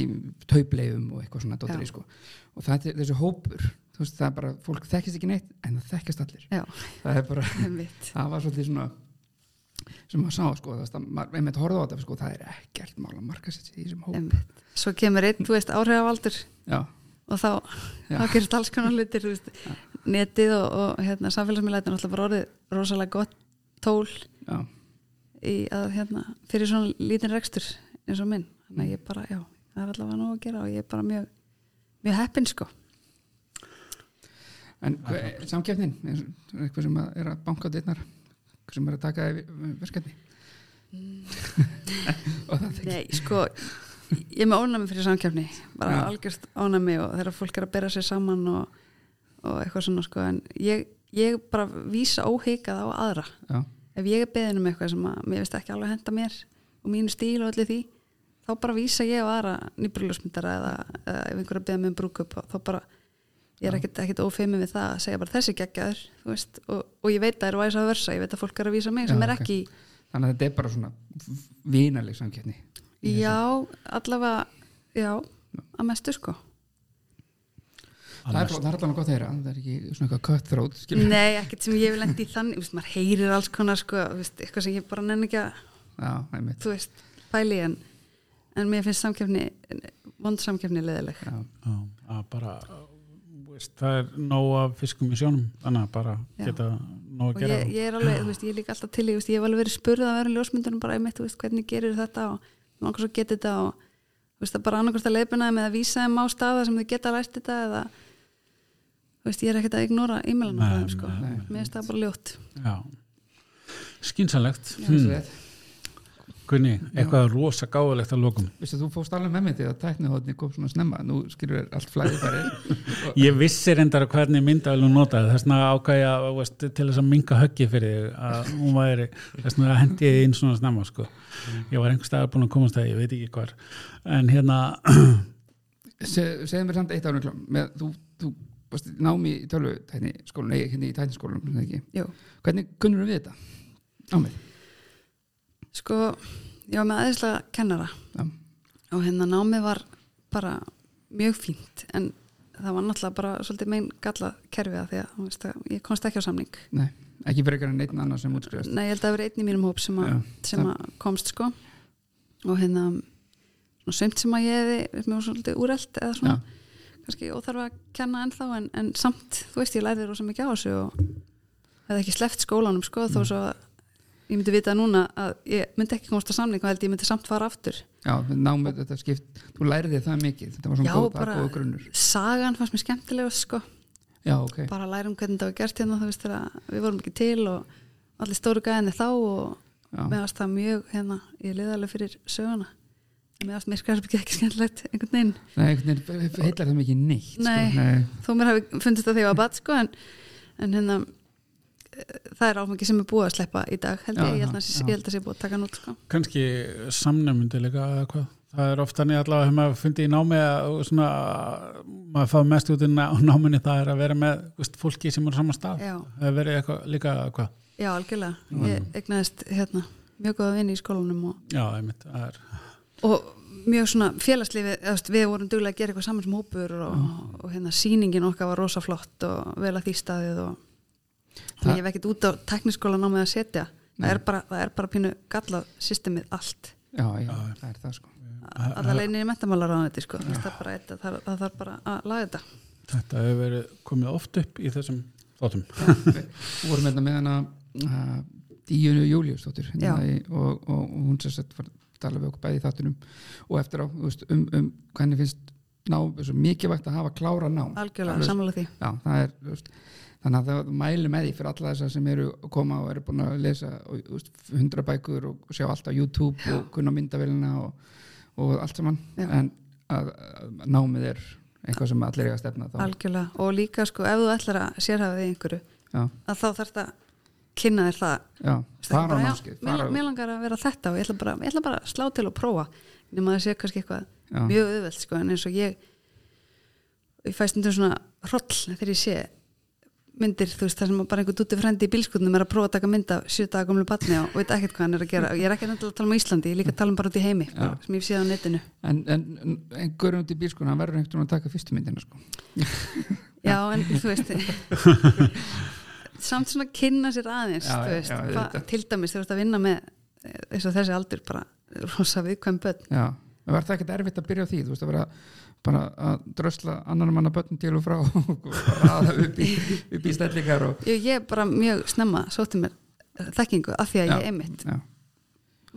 taupleifum og eitthvað svona dóttri, sko. og það, er- þessi hópur þú veist, það er bara, fólk þekkist ekki neitt en það þekkist allir
já,
það er bara,
mitt
það var svolítið svona sem maður sá, sko, það, það, maður, einmitt horfði á þetta, sko, það er ekkert mál að marka sér í þessum hóp
Einmitt. Svo kemur einn, þú veist, áhrifavaldur
já,
og þá,
Já.
þá gerist alls konar hlutir, þú veist, netið og, og hérna, samfélagsmiðlætin er náttúrulega bara orðið rosalega gott tól
já,
í að, hérna, fyrir svona lítinn rekstur eins og minn, þannig að ég bara, já, það er allavega nóg að gera og ég er bara mjög, mjög heppin, sko.
en hver- samkeppnin er eitthvað sem að- er að banka dyrnar sem er að taka yfir verkefni og það þykir
Nei, sko, ég er með ónæmi fyrir samkjöfni, bara
Já.
algjörst ónæmi og þegar fólk er að bera sér saman og, og eitthvað svona, sko, en ég, ég bara vísa óheikað á aðra.
já,
Ef ég er beðin um eitthvað sem að mér veist ekki alveg henda mér og mínu stíl og öllu því, þá bara vísa ég á aðra nýbrúlusmyndara eða, eða ef einhver er að beða mig um brúkup, þá bara ég er ekkit, ekkit ófeimin við það að segja bara þessi geggjaður, þú veist, og, og ég veit að það er væsa að versa, ég veit að fólk er að vísa mig sem
Já,
er
ok.
ekki
þannig að þetta er bara svona vinaleg samkeppni í þessu.
Já, allavega, já, að mestu sko.
það er, það er allavega gott að heyra það er ekki svona eitthvað cutthroat skilur.
Nei, ekkert sem ég vil endi í þannig, þú veist, maður heyrir alls konar sko, þú veist, eitthvað sem ég bara nenni ekki að,
já, einmitt
þú veist, pæli í, en, en mér finnst samkefni, vond samkefni leðileg.
já,
já, að bara þú veist, það er nóg af fiskum í sjónum þannig að bara
Já.
geta nóg að
Og
gera
ég, ég er alveg, þú veist, ég er líka alltaf til, í, þú veist, ég hef alveg verið spurð að vera ljósmyndunum bara einmitt, þú veist, hvernig gerir þetta og langar svo getið þetta og, þú veist, það bara annarkvæmst að leiðbuna þeim eða vísa þeim á staða sem þau geta ræst þetta eða, þú veist, ég er ekkert að ignora e-mailana frá
Nei,
þeim, sko.
nei,
Mér finnst það bara ljótt.
já skynsalegt
þessu
hmm.
rétt.
Gunni, eitthvað rosa gáðulegt að lokum
Vissi, þú fórst alveg með mig því að tæknihóðni kom svona snemma, nú skilur þér allt flæðið farið og
Ég vissi reyndar hvernig myndavel hún notaði þess vegna ákvæði að þú veist, til þess að minga höggið fyrir þig að hún væri þess vegna hendi ég þig inn svona snemma sko. ég var einhver staðar búin að komast það ég veit ekki hvar en hérna,
Se, segðu mér samt eitt ánum klám með, þú, þú varst í námi í tölvu tækni skólan, nei, hérna í tækni skólan ekki.
Jú.
hvernig kunnur við þetta? Námið,
Sko, ég var með aðeinslega kennara
Já.
og hérna námið var bara mjög fínt en það var náttúrulega bara svolítið mein galla kerfiða því að, þú veist, að ég komst ekki á samning.
nei, ekki frekar en einn annar sem útskrifast
Nei, ég held að það verið einn í mínum hóp sem, a,
Já,
sem að komst sko og hérna og sömt sem að ég hefði mér var svolítið úrelt eða svona, kannski óþarf að kenna ennþá en, en samt, þú veist, ég lærði rosa mikið á þessu og hefði ekki sleppt skólanum sko þó svo að ég myndi vita núna að ég myndi ekki komast á samning og held ég myndi samt fara aftur
Já, námið þetta skipt, þú lærði það mikið þetta var svona
Já,
góð,
bara-
bara... góð grunnur
sagan fannst mér skemmtilega sko.
Já, ok,
bara að læra um hvernig það var gert hérna þú veist þegar að við vorum ekki til og allir stóru gæðinni þá og
já,
mér varst það mjög hérna, ég liði alveg fyrir söguna En mér varst myrkarbyggja ekki skemmtilegt einhvern veginn,
nei, einhvern veginn heillar það mikið neitt sko.
Nei.
nei,
þó mér hafi fundist það þegar ég var bat sko en, en hérna eh, það er áfengi sem er búið að sleppa í dag held
Já,
ég, ég held að
já, já.
ég held að sé búið að taka hann út sko.
kannski samnefndi líka eða hvað það er oft þannig allavega hefur maður fundið í námi að svona, maður fá mest út inn á náminni það er að vera með þú veist, fólki sem er á sama stað
Já.
það er verið eitthvað líka hvað
já, algjörlega ég egnaðist hérna mjög góða vini í skólanum og,
já, einmitt, það er
og mjög svona félagslífi eða, þú veist, við vorum duglega að gera eitthvað saman sem hópur og, og, hérna sýningin okkar var rosa flott og vel að því staðið og
Þa-
Þa... ég hef ekkert út á tekniskólan á með að setja það er, bara, það er bara pínu gallað systemið allt
já, já, það er það sko
alla leginni í mentamálar á þetta sko. það, er bara, eitt- það, það þarf bara að laga þetta
þetta hefur verið komið oft upp í þessum þáttum
Við vorum hérna með hana uh, Díunu Júliusdóttir hérna
Já.
í- og, og, og hún sér sett var að tala við okkur bæði í þáttunum og eftir á þú veist, um, um hvernig finnst nám, svo mikið vægt að hafa klára nám
algjörlega,
Alveg-
sammála því
Já, það er, þú veist, þannig að það mæli með því fyrir alla þessar sem eru að koma og eru búin að lesa og, þú veist, hundra bækur og sjá allt á YouTube og kunna myndavélina og, og allt saman
Já.
en að, að námið er eitthvað sem allir eiga að stefna þá
algjörlega, og líka sko ef þú ætlar að sérhafa því einhverju
já,
að þá þarf þetta kynna þér það
já, fara á
Bara, já,
námskeið
mér,
fara á-
mér langar að vera þetta og ég ætla bara, ég ætla bara að slá til og prófa nema það sé kannski eitthvað
Já.
mjög auðvelt sko, en eins og ég ég fæst undir svona hroll þegar ég sé myndir þú veist þar sem bara einhver dúti frendi í bílskutnum er að prófa að taka mynd af 7 daga gamlu batni og veit ekkert hvað hann er að gera ég er ekki endilega að tala um á Íslandi, ég er líka að tala um bara út í heimi bara, sem ég hef séð á netinu
en, en, en einhverjum út í bílskuna hann verður einhvern veginn að taka fyrstu myndina sko.
já, en þú veist samt svona kynna sér aðeins
Já,
þú veist,
já,
hva,
auðvitað.
til dæmis þegar þú ert að vinna með eh, eins og þessi aldur bara rosa viðkvæm börn
já, en var það ekkert erfitt að byrja á því þú veist að vera bara að drösla annar manna börn til og frá og raða upp í, upp í stellingar og
Ég, ég bara mjög snemma sótti mér eh, þekkingu af því að ég
Já,
einmitt
já.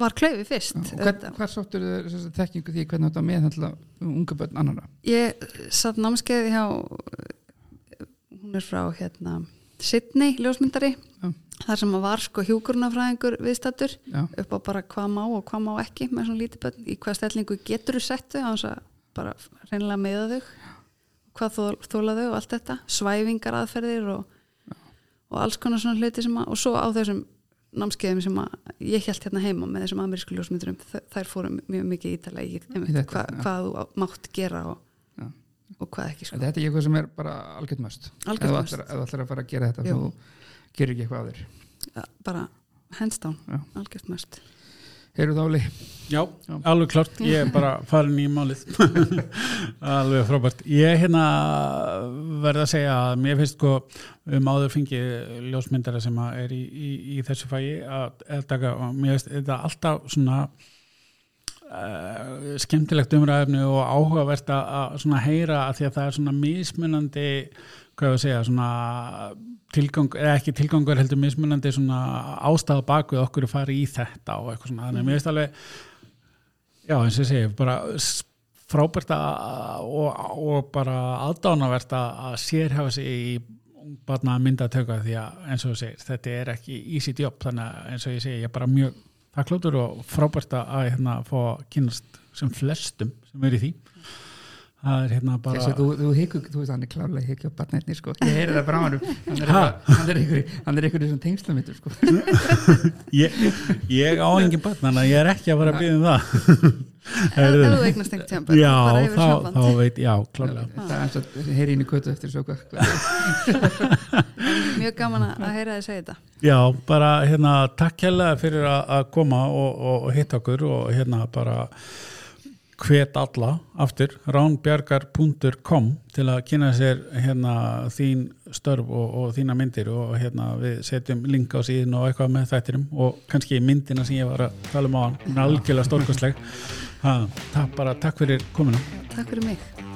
var klaufi fyrst
Og
auðvitað.
Hvar sáttur þau þekkingu því hvernig þetta meðhandla um unga börn annara?
ég satt námskeið hjá eh, hún er frá hérna Sydney ljósmyndari
Já.
þar sem að var sko hjúkurnafræðingur viðstattur
Já,
upp á bara hvað má og hvað má ekki með svona lítið börn, í hvað stellingu getur þú sett þau á þess að bara reynilega meða þau hvað þó, þóla þau og allt þetta, svæfingar aðferðir og, og alls konar svona hluti sem að, og svo á þessum námskeiðum sem að ég held hérna heima með þessum amerísku ljósmyndurum, þ- þær fóru mjög mikið ítalega í einmitt,
þetta,
hva,
já.
hvað þú á- mátt gera og,
já.
og hvað ekki
En
sko.
Þetta er eitthvað sem er bara algjört möst
Algjört
Ef þú
must.
ætlar- ef þú ætlar að fara að gera þetta
Jú.
þú gerir ekki eitthvað aður
bara hands down,
Já.
algjört mest
Heyrðu þáli
Já, alveg klart, ég er bara farin í málið alveg frábært ég hérna verð að segja að mér finnst sko um áður fengið ljósmyndara sem að er í, í, í þessu fægi að að taka og mér finnst þetta alltaf svona uh, skemmtilegt umræðinu og áhugavert að, að svona heyra að því að það er svona mismunandi hvað ég að segja, svona tilgang, eða ekki tilgangur heldur mismunandi svona ástæða bakvið okkur að fara í þetta og eitthvað svona, þannig að mér finnst alveg Já, eins og ég segi, bara s- frábært að- og, og bara aðdánavert að að sérhafa sig í barna myndatöka því að eins og þú segir, þetta er ekki easy job þannig að eins og ég segi, ég er bara mjög þakkláttur og frábært að- að hérna fá að kynast sem flestum sem eru í því það er hérna bara
Þessi, þú, þú, hyggur, þú veist, hann er klárlega higgja á barnetni sko. Ég heyri það frá hann Hann er eitthvað- hann er einhverjum hann er einhverjum sem tengslamitur sko.
ég, ég á engin barn þannig að ég er ekki að fara að byggja um það
ef ef þú eignast einhvern tíma bara
Já,
yfir
þá,
samband
þá veit, já, klárlega
Það er eins og heyri inn í kötu eftir svo hvað
mjög gaman að að heyra þið segja þetta
Já, bara hérna takk hérlega fyrir að að koma og, og, og hitta okkur og hérna bara hvet alla aftur ránbjargar.com til að kynna sér hérna þín störf og, og þína myndir og hérna við setjum link á síðan og eitthvað með þættinum og kannski myndina sem ég var að tala um á hann, hún er algjörlega stórkostleg. Ha, Takk bara, takk fyrir komuna.
takk fyrir mig